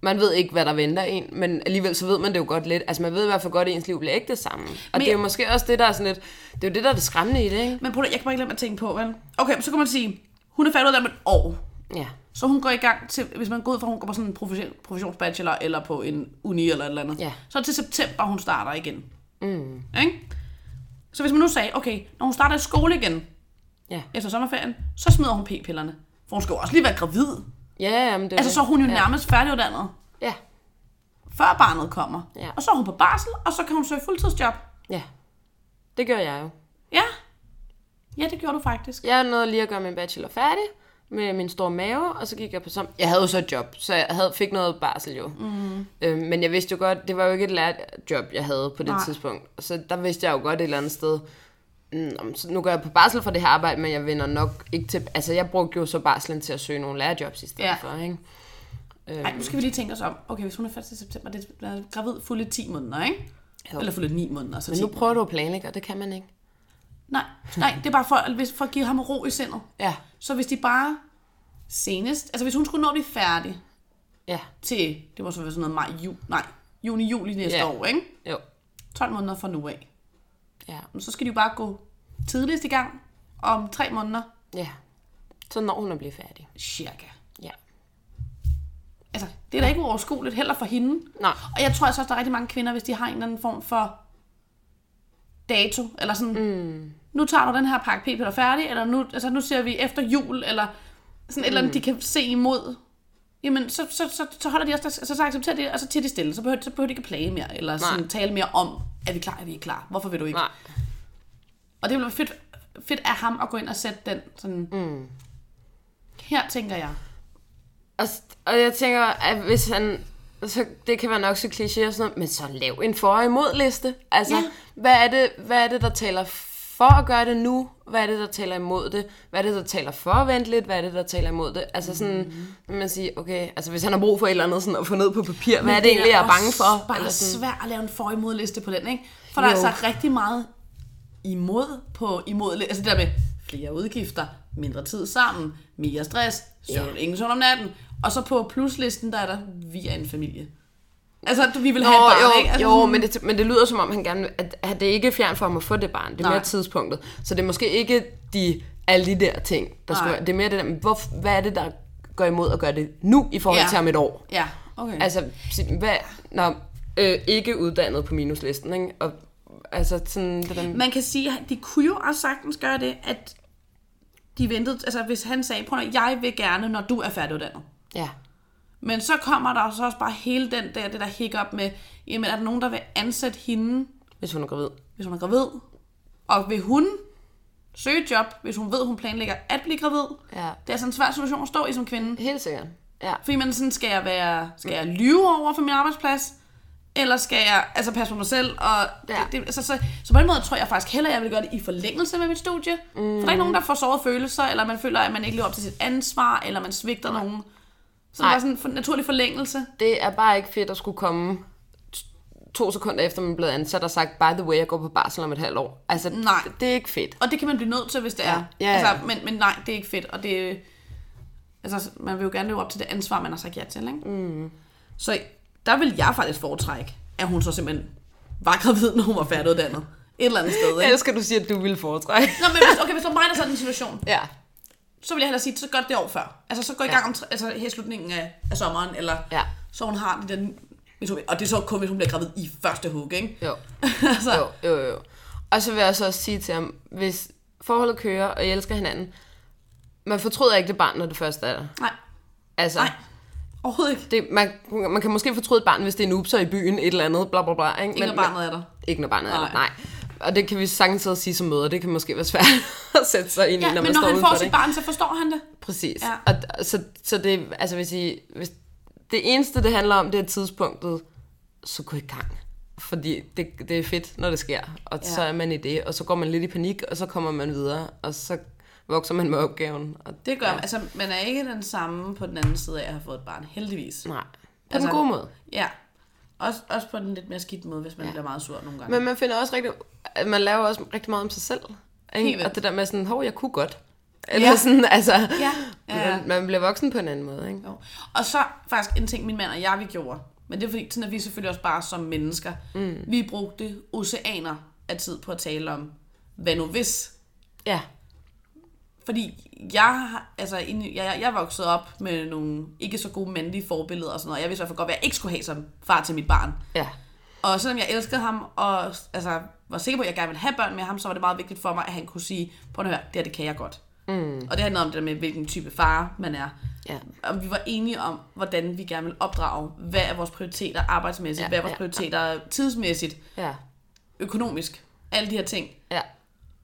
man ved ikke, hvad der venter en, men alligevel så ved man det jo godt lidt. Altså, man ved i hvert fald godt, at ens liv bliver ikke det samme. Og Men- men... det er jo måske også det, der er sådan lidt, det er jo det, der er det skræmmende i det, ikke? Men prøv at- jeg kan bare ikke lade mig tænke på, vel? Okay, så kan man sige, hun er færdig ud af om et år. Ja. Så hun går i gang til, hvis man går ud fra, hun går på sådan en profession, professionsbachelor, eller på en uni eller et eller andet. Ja. Så til september, hun starter igen. Mm. Ikke? Så hvis man nu sagde, okay, når hun starter i skole igen, Ja. efter sommerferien, så smider hun p-pillerne. For hun skal jo også lige være gravid. Ja, jamen, det er Altså, det. så er hun jo nærmest færdiguddannet, Ja. før barnet kommer. Ja. Og så er hun på barsel, og så kan hun søge fuldtidsjob. Ja. Det gør jeg jo. Ja. Ja, det gjorde du faktisk. Jeg nåede lige at gøre min bachelor færdig med min store mave, og så gik jeg på som... Jeg havde jo så et job, så jeg havde, fik noget barsel jo. Mm. Øhm, men jeg vidste jo godt, det var jo ikke et lært job, jeg havde på det Nej. Nej. tidspunkt. Så der vidste jeg jo godt et eller andet sted, mm, så nu går jeg på barsel for det her arbejde, men jeg vender nok ikke til... Altså, jeg brugte jo så barslen til at søge nogle lærerjobs i stedet Ja. ja. for, ikke? Nej, nu skal vi lige tænke os om. Okay, hvis hun er 1. september, det er gravid fulde 10 måneder, ikke? Jo. Eller fulde 9 måneder, så Men 10. nu prøver du at planlægge, og det kan man ikke. Nej, nej, det er bare for, hvis- for at give ham ro i sindet. Ja. Så hvis de bare senest, altså hvis hun skulle nå at blive færdig Ja. til, det må så være sådan noget maj, jul, nej, juni, juli næste Ja. år, ikke? Jo. 12 måneder fra nu af. Ja. Så skal de jo bare gå tidligst i gang om tre måneder, Ja. Så når hun at blive færdig. cirka. Ja. Altså, det er da ikke uoverskueligt heller for hende. Nej. Og jeg tror altså også, der er rigtig mange kvinder, hvis de har en eller anden form for dato, eller sådan, mm. nu tager du den her pakke p-piller færdig, eller nu, altså, nu ser vi efter jul, eller sådan et eller andet, de kan se imod. Jamen, så, så, så, så holder de også, deres- altså, så accepterer de, og så tiger de stille, så behøver, så behøver de ikke at plage mere, eller sådan, tale mere om, er vi klar, er vi ikke klar, hvorfor vil du ikke? Nej. Og det bliver fedt, fedt af ham at gå ind og sætte den sådan, mm. her tænker jeg. Og, og jeg tænker, at hvis han... Så det kan være nok så kliché og sådan noget, men så lav en for- og imod-liste. Altså, Ja. ja. hvad, er det, hvad er det, der taler for at gøre det nu? Hvad er det, der taler imod det? Hvad er det, der taler for at vente lidt? Hvad er det, der taler imod det? Altså sådan, mm-hmm. man siger, okay, altså hvis han har brug for et eller andet sådan at få ned på papir, hvad er det egentlig, jeg er bange for? bare Eller sådan, svært at lave en for- og imodliste på den, ikke? For der er Jo. altså rigtig meget imod på imod. Altså det der med flere udgifter, mindre tid sammen, mere stress, søvn, Ja. ingen søvn om natten. Og så på pluslisten, der er der, vi er en familie. Altså, du- vi vil Nå, have et barn, jo, ikke? Altså, jo men, det, men det lyder som om, han gerne vil- at, at det ikke er fjern for ham at få det barn. Det er Nej. mere tidspunktet. Så det er måske ikke de, alle de der ting, der Nej. skulle være. Det er mere det der, men hvor, hvad er det, der går imod at gøre det nu i forhold Ja. ja. til om et år? Ja, okay. Altså, Altså, sig- hvad, når øh, ikke uddannet på minuslisten, ikke? Og, altså sådan, det der, man kan sige, at de kunne jo også sagtens gøre det, at de ventede, altså hvis han sagde, prøv at høre, jeg vil gerne, når du er færdiguddannet. ja. Men så kommer der så også bare hele den der, det der hiccup med, jamen er der nogen, der vil ansætte hende, Hvis hun er gravid. hvis hun er gravid? Og vil hun søge et job, hvis hun ved, hun planlægger at blive gravid? Ja. Det er altså en svær situation at stå i som kvinde. Helt sikkert. Ja. Fordi man er sådan, skal jeg, være, skal jeg lyve over for min arbejdsplads? Eller skal jeg altså passe på mig selv? Og Ja. det, det, altså, så, så på den måde tror jeg faktisk hellere, at jeg vil gøre det i forlængelse med mit studie. Mm. For der er ikke nogen, der får såret følelser, eller man føler, at man ikke lever op til sit ansvar, eller man svigter nogen. Så det Nej. er bare sådan en for- naturlig forlængelse. Det er bare ikke fedt at skulle komme t- to sekunder efter, man er blevet ansat og sagt, by the way, jeg går på barsel om et halvt år. Altså, Nej. det- det er ikke fedt. Og det kan man blive nødt til, hvis det Ja. er. Ja, ja. Altså, men, men nej, det er ikke fedt. Og det, altså, man vil jo gerne leve op til det ansvar, man har sagt ja til. Ikke? Mm. Så der vil jeg faktisk foretrække, at hun så simpelthen var gravid, når hun var færdiguddannet. Et eller andet sted. Jeg Ikke? elsker, at du siger, at du ville foretrække. Nå, men hvis, okay, hvis det var mig, der sad i den situation, Ja. så ville jeg hellere sige, så gør det det år før. Altså, så gå i Ja. gang om, tre- altså, her i slutningen af, af sommeren, eller Ja. så hun har det den... hvis hun- Og det er så kun, hvis hun bliver gravid i første hug, ikke? Jo. altså, jo. Jo, jo, jo. Og så vil jeg så også sige til ham, hvis forholdet kører, og I elsker hinanden, man fortryder ikke det barn, når det første er der. Nej, Altså, Nej. overhovedet ikke. det, man, man kan måske fortryde et barn, hvis det er en upser i byen, et eller andet, bla bla bla. Ikke, Ikke når barnet er der. Ikke når barnet er Nej. der, nej. Og det kan vi sagtens sidde og sige som møder, det kan måske være svært at sætte sig ind i, Ja, men når man når står han udenfor får det. sit barn, så forstår han det. Præcis. Ja. Ja. Og, og så, så det, altså hvis I, hvis det eneste, det handler om, det er tidspunktet, så gå i gang. Fordi det, det er fedt, når det sker. Og ja. så er man i det, og så går man lidt i panik, og så kommer man videre, og så vokser man med opgaven. Og Det gør ja. Altså, man er ikke den samme på den anden side af at have fået et barn, heldigvis. Nej. På Altså- den gode måde. Ja. Også, også på den lidt mere skidt måde, hvis man ja. bliver meget sur nogle gange. Men man finder også rigtig, man laver også rigtig meget om sig selv. Helt Ikke? vildt. Og det der med sådan, hov, jeg kunne godt. Eller Ja. ja. sådan, altså, Ja, ja, ja. Man, man bliver voksen på en anden måde, ikke? Jo. Og så faktisk en ting, min mand og jeg, vi gjorde. Men det er fordi, sådan er vi selvfølgelig også bare som mennesker. Mm. Vi brugte oceaner af tid på at tale om, hvad nu hvis? Ja, Fordi jeg, har- altså, inde- jeg, jeg, jeg voksede op med nogle ikke så gode mandlige forbilleder og sådan noget. Jeg vidste i hvert fald godt, hvad jeg ikke skulle have som far til mit barn. Ja. Og selvom jeg elskede ham, og altså, var sikker på, at jeg gerne ville have børn med ham, så var det meget vigtigt for mig, at han kunne sige, prøv at høre, det her, det kan jeg godt. Mm. Og det handlede om det der med, hvilken type far man er. Ja. Og vi var enige om, hvordan vi gerne ville opdrage. Hvad er vores prioriteter arbejdsmæssigt? Ja, Ja, hvad er vores ja, ja, prioriteter tidsmæssigt? Ja. Økonomisk? Alle de her ting. ja.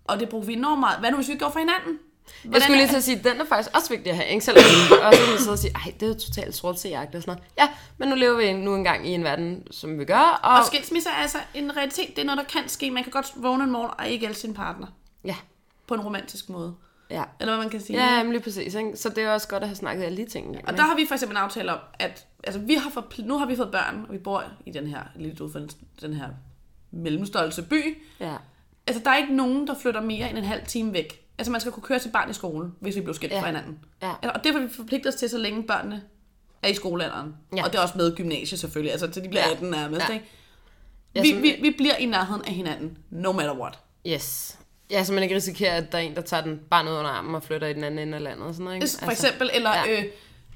Og det brugte vi enormt meget. Hvad nu, hvis vi ikke gjorde for hinanden? Hvordan Jeg skulle lige er- til at sige, den er faktisk også vigtig at have, ikke? Selvom og så kan man sidde og sige, ej, det er jo totalt sort til jagt og sådan noget. Ja, men nu lever vi nu engang i en verden, som vi gør, og... Og skilsmisse er altså en realitet. Det er noget, der kan ske. Man kan godt vågne en morgen og ikke elske sin partner. Ja, På en romantisk måde. ja. Eller hvad man kan sige. Ja, jamen lige præcis, ikke? Så det er også godt at have snakket alle de ting. igennem, Og ikke? der har vi for eksempel en aftale om, at altså, vi har forpl- nu har vi fået børn, og vi bor i den her, lidt ud for den, den her mellemstørrelse by. Ja. Altså, der er ikke nogen, der flytter mere end en halv time væk. Altså, man skal kunne køre sit barn i skole, hvis vi blev skilt Ja. ja. fra hinanden. Ja. Altså, og det vil vi forpligte os til, så længe børnene er i skolealderen. Ja. Ja. Og det er også med gymnasiet selvfølgelig, altså til de bliver Ja. 18 nærmest, Ja. ja. ikke? Ja, Vi, sådan- vi, vi bliver i nærheden af hinanden, no matter what. Yes. Ja, så man ikke risikerer, at der er en, der tager den bare ned under armen og flytter i den anden ende af landet og sådan noget, ikke? Altså, For eksempel, eller ja. Altså, ja. øh,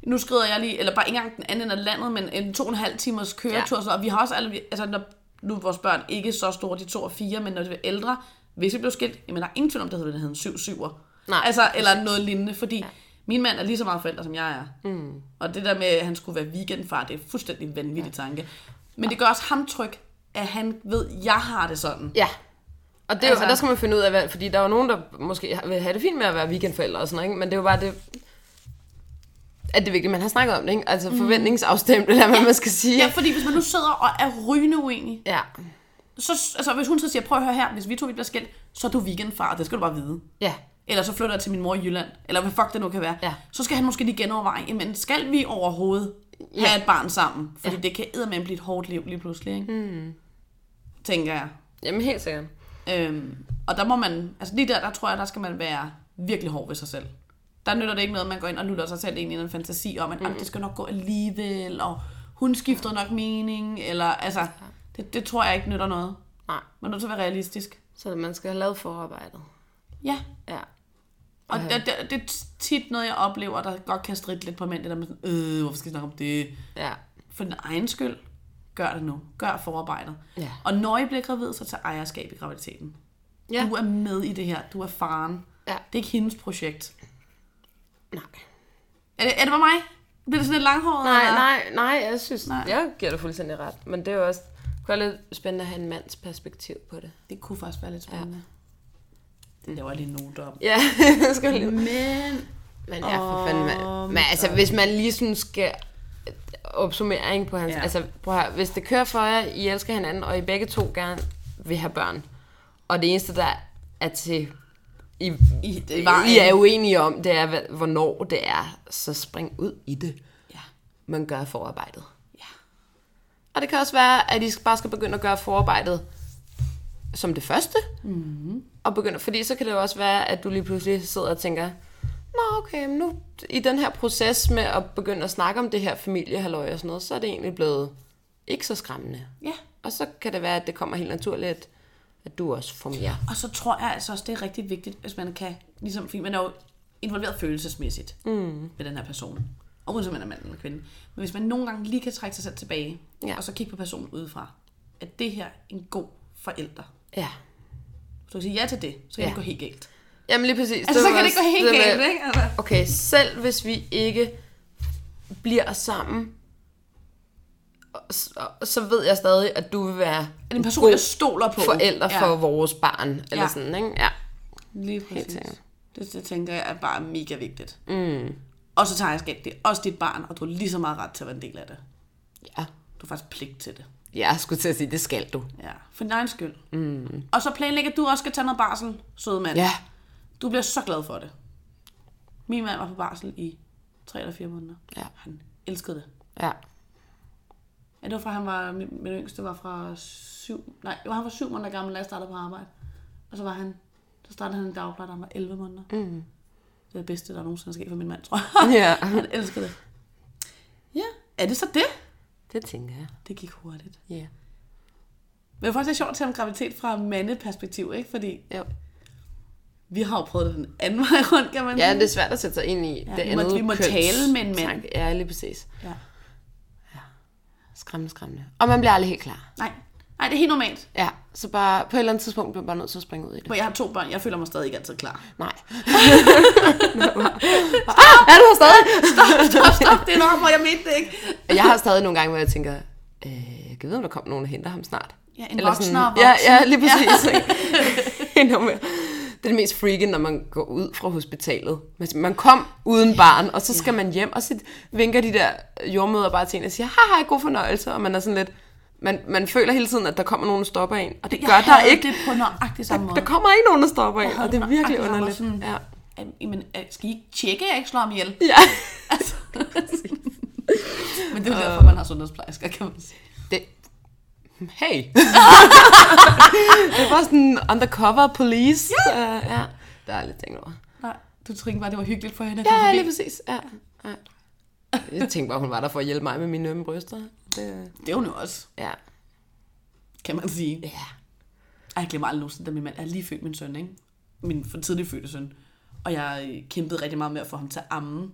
nu skrider jeg lige, eller bare ikke engang den anden ende af landet, men en to og en halv timers køretur, ja. så, og vi har også alle, altså når, nu er vores børn ikke så store, de to og fire, men når de er ældre, hvis vi blev skilt, jamen der er ingen tvivl om, det hedder, det hedder en syv syver. Nej, altså, eller noget lignende, fordi ja. min mand er lige så meget forælder, som jeg er. Mm. Og det der med, at han skulle være weekendfar, det er en fuldstændig vanvittig ja. tanke. Men det gør også ham tryg, at han ved, at jeg har det sådan. Ja. Og, det er jo, altså, Altså- og der skal man finde ud af, hvad, fordi der er jo nogen, der måske vil have det fint med at være weekendforældre og sådan noget, ikke? men det er jo bare det, at det er vigtigt, man har snakket om det, ikke? Altså forventningsafstemt, eller hvad man skal sige. Mhm. Ja, fordi hvis man nu sidder og er rygende uenig, Ja. så, altså, hvis hun så siger, prøv at høre her, hvis vi to vi bliver skilt, så er du weekendfar, det skal du bare vide. Ja. Eller så flytter jeg til min mor i Jylland, eller hvad fuck det nu kan være. Ja. Så skal han måske lige genoverveje, jamen skal vi overhovedet have Ja. et barn sammen? Fordi ja. det kan eddermame blive et hårdt liv lige pludselig, ikke? Mm. Tænker jeg. Jamen helt sikkert. Øhm, og der må man, altså lige der, der tror jeg, der skal man være virkelig hård ved sig selv. Der nytter det ikke noget, at man går ind og lutter sig selv ind i en fantasi om, at mm. det skal nok gå alligevel, og hun skifter nok mening, eller altså, det, det tror jeg ikke nytter noget. Nej. Man er nødt til at være realistisk. Så man skal have lavet forarbejdet. Ja, Ja. og det, det, det er tit noget, jeg oplever, der godt kan stride lidt på mænd, det der med sådan, øh, hvorfor skal jeg snakke om det? Ja. For din egen skyld, gør det nu. Gør forarbejdet. Ja. Og når I bliver gravid, så tager ejerskab i graviditeten. Ja. Du er med i det her. Du er faren. Ja. Det er ikke hendes projekt. Nej. Er det, er det bare mig? Bliver det sådan lidt langhåret? Nej, eller? nej, nej, jeg synes, nej. Nej. jeg giver dig fuldstændig ret. Men det er jo også, det kunne være lidt spændende at have en mands perspektiv på det. Det kunne faktisk være lidt spændende. Ja. Det laver jeg lige en note om. Ja, jeg skal lige Men... Men ja, for Åh, fanden, man. Men altså, hvis man lige sådan skal opsummering på hans... Ja. Ja. Altså, prøv at høre, hvis det kører for jer, I elsker hinanden, og I begge to gerne vil have børn, og det eneste, der er til... I, I, I, i vejen. I er uenige om, det er, hvad- hvornår det er, så spring ud i det. Ja. Man gør forarbejdet. ja. Og det kan også være, at I bare skal begynde at gøre forarbejdet som det første. Mm-hmm. Mhm. Og begynde, fordi så kan det jo også være, at du lige pludselig sidder og tænker, Nå okay, men nu i den her proces med at begynde at snakke om det her familiehalløj og sådan noget, så er det egentlig blevet ikke så skræmmende. Ja. Og så kan det være, at det kommer helt naturligt, at- at du også får mere. Og så tror jeg altså også, det er rigtig vigtigt, hvis man kan, ligesom, fordi man er jo involveret følelsesmæssigt mm. med den her person. Og uanset om man er mand eller kvinde. Men hvis man nogle gange lige kan trække sig selv tilbage, Ja. ja. og så kigge på personen udefra, at det her er en god forælder. Ja. Så du kan sige ja til det, så kan Ja. det gå helt galt. Jamen lige præcis. Altså, så var kan det også gå helt med- galt, ikke? Altså. okay, selv hvis vi ikke bliver sammen, så, så ved jeg stadig, at du vil være En person, god jeg stoler på. forældre Ja. for vores barn. Eller Ja. sådan, ikke? Ja. Lige præcis. sikkert. Det, det tænker jeg er bare mega vigtigt. Mm. Og så tager jeg skab, det er også dit barn, og du har lige så meget ret til at være en del af det. ja. Du har faktisk pligt til det. Jeg skulle til at sige, det skal du. Ja, for din egen skyld. Mm. Og så planlæg, at du også skal tage noget barsel, søde mand. Ja. Du bliver så glad for det. Min mand var på barsel i 3 eller 4 måneder. Ja. Han elskede det. Ja. Ja, det var fra, han var, min, min yngste var fra 7, nej, jo, han var 7 måneder gammel, da jeg startede på arbejde. Og så var han, så startede han en dagpleje, da han var 11 måneder. Mm. Det er det bedste, der nogensinde er sket for min mand, tror jeg. Ja. han elskede det. Ja, er det så det? Det tænker jeg. Det gik hurtigt. Ja. Men det er faktisk lidt sjovt at tale om graviditet fra mandeperspektiv, ikke? Fordi Jo. Vi har jo prøvet det den anden vej rundt, kan man Ja, sige. det er svært at sætte sig ind i ja, det vi må- andet vi må køns tale med en mand. tanke. Ja, lige præcis. Ja. Skræmmende, skræmmende. Og man bliver aldrig helt klar. Nej. Nej, det er helt normalt. Ja, så bare på et eller andet tidspunkt bliver man bare nødt til at springe ud i det. For jeg har to børn, jeg føler mig stadig ikke altid klar. Nej. ah, er du her stadig? Stop, stop, det er nok, hvor jeg mente det ikke. Jeg har stadig nogle gange, hvor jeg tænker, øh, jeg ved, om der kommer nogen og henter ham snart. Ja, en voksen og Ja, voksen. ja, lige præcis. Ja. Endnu mere. Det er det mest freaking, når man går ud fra hospitalet. Men Man kom uden barn, og så skal man hjem, og så vinker de der jordmøder bare til en og siger, hej, hej, god fornøjelse, og man er sådan lidt... Man, man føler hele tiden, at der kommer nogen og stopper en, og det Jeg gør der havde ikke. det på nøjagtig samme måde. Der kommer ikke nogen, der stopper en, og det er virkelig nøjagtig underligt. samme måde, Ja. Am- Jamen, øh, skal I ikke tjekke, at jeg ikke slår ham ihjel? ja. Altså. Men det Øh. er jo derfor, man har sundhedsplejersker, kan man sige. Det... Hey! det var sådan undercover police. Ja. Uh, ja. Der er lidt tænkt over. Nej, du tænkte bare, det var hyggeligt for hende at komme Ja, lige forbi. præcis. Ja. ja. Jeg tænkte bare, hun var der for at hjælpe mig med mine ømme bryster. Det... Det er hun jo også, Ja. kan man sige. Ja. Ej, jeg glemmer aldrig nogensinde, da min mand er lige født min søn, ikke? Min for tidlig fødte søn. Og jeg øh, kæmpede rigtig meget med at få ham til at amme.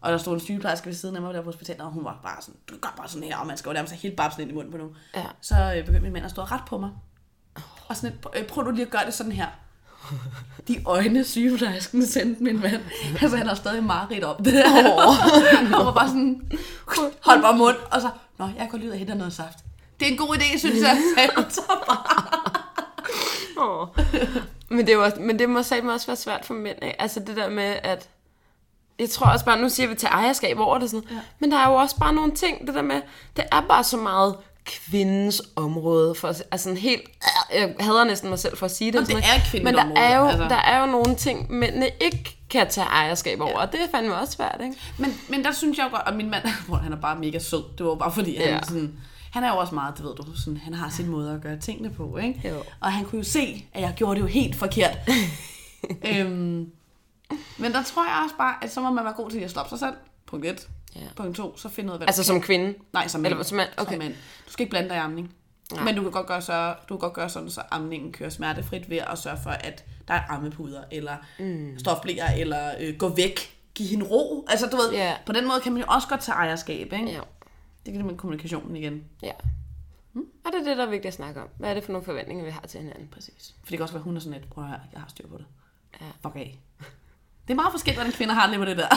Og der stod en sygeplejerske ved siden af mig der på hospitalet, og hun var bare sådan, du gør bare sådan her, og man skal jo nærmest have helt babsen ind i munden på nogen. Ja. Så øh, begyndte min mand at stå og ret på mig. Og sådan, lidt, "Øh, prøv du lige at gøre det sådan her. De øjne, sygeplejersken sendte min mand. Altså, han har stadig mareridt om det. Oh, han var bare sådan, hold bare mund. Og så, nå, jeg går lige ud og henter noget saft. Det er en god idé, synes jeg. Så bare. Oh. men, det var, men det må satme også være svært for mænd, ikke? Altså det der med, at... Jeg tror også bare, nu siger vi til ejerskab over det sådan ja. Men der er jo også bare nogle ting, det der med... Det er bare så meget kvindens område. For, altså sådan helt... Jeg hader næsten mig selv for at sige Nå, det. det sådan, ikke? er kvindens Men der område, er, jo, altså. der er jo nogle ting, mændene ikke kan tage ejerskab over. Og det er fandme også svært, ikke? Men, men der synes jeg jo godt, at min mand, hvor han er bare mega sød. Det var bare fordi, han, Ja. ja. sådan, han er jo også meget, det ved du, sådan, han har sin måde at gøre tingene på. Ikke? Jo. Og han kunne jo se, at jeg gjorde det jo helt forkert. øhm, men der tror jeg også bare, at så må man være god til lige at stoppe sig selv. Punkt 1. Ja. Punkt 2, så finde ud af, hvad Altså som kvinde. Nej, som mand. Eller som mand, okay. Som mand. Du skal ikke blande dig i amning. Nej. Men du kan, godt gøre så, du kan godt gøre sådan, så amningen kører smertefrit ved at sørge for, at der er ammepuder, eller mm. stofblæer, eller øh, gå væk, give hende ro. Altså, du ved, Ja. yeah. på den måde kan man jo også godt tage ejerskab, ikke? Ja. Det kan med kommunikationen igen. ja. Og det er det, der er vigtigt at snakke om. Hvad er det for nogle forventninger, vi har til hinanden? Præcis. For det kan også være, hun er sådan lidt, prøv at høre, jeg har styr på det. Ja. Fuck af. Det er meget forskelligt, hvordan kvinder har det med det der.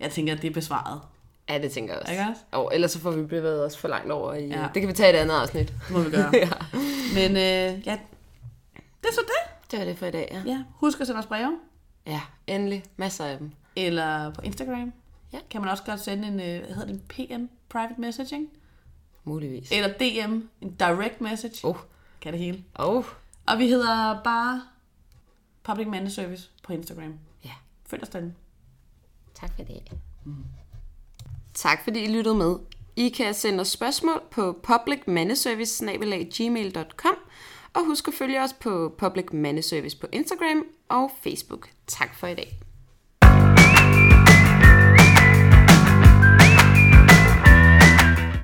jeg tænker, at det er besvaret. Ja, det tænker jeg også. Ikke også? Og ellers så får vi bevæget os for langt over i... Ja. Det kan vi tage i et andet afsnit. Det må vi gøre. Ja. Men øh, ja, det er så det. Det var det for i dag, ja. Ja, husk at sende os breve. Ja, endelig. Masser af dem. eller på Instagram. Ja. Kan man også godt sende en, øh, hvad hedder det, en PM, private messaging, Muligvis. eller DM, en direct message. Oh. Kan det hele. Oh. Og vi hedder bare Public Manager Service på Instagram. Ja. Følg os derinde. Tak for det. Mm. Tak fordi I lyttede med. I kan sende os spørgsmål på publicmandeservice.gmail.com og husk at følge os på Public Mandeservice på Instagram og Facebook. Tak for i dag.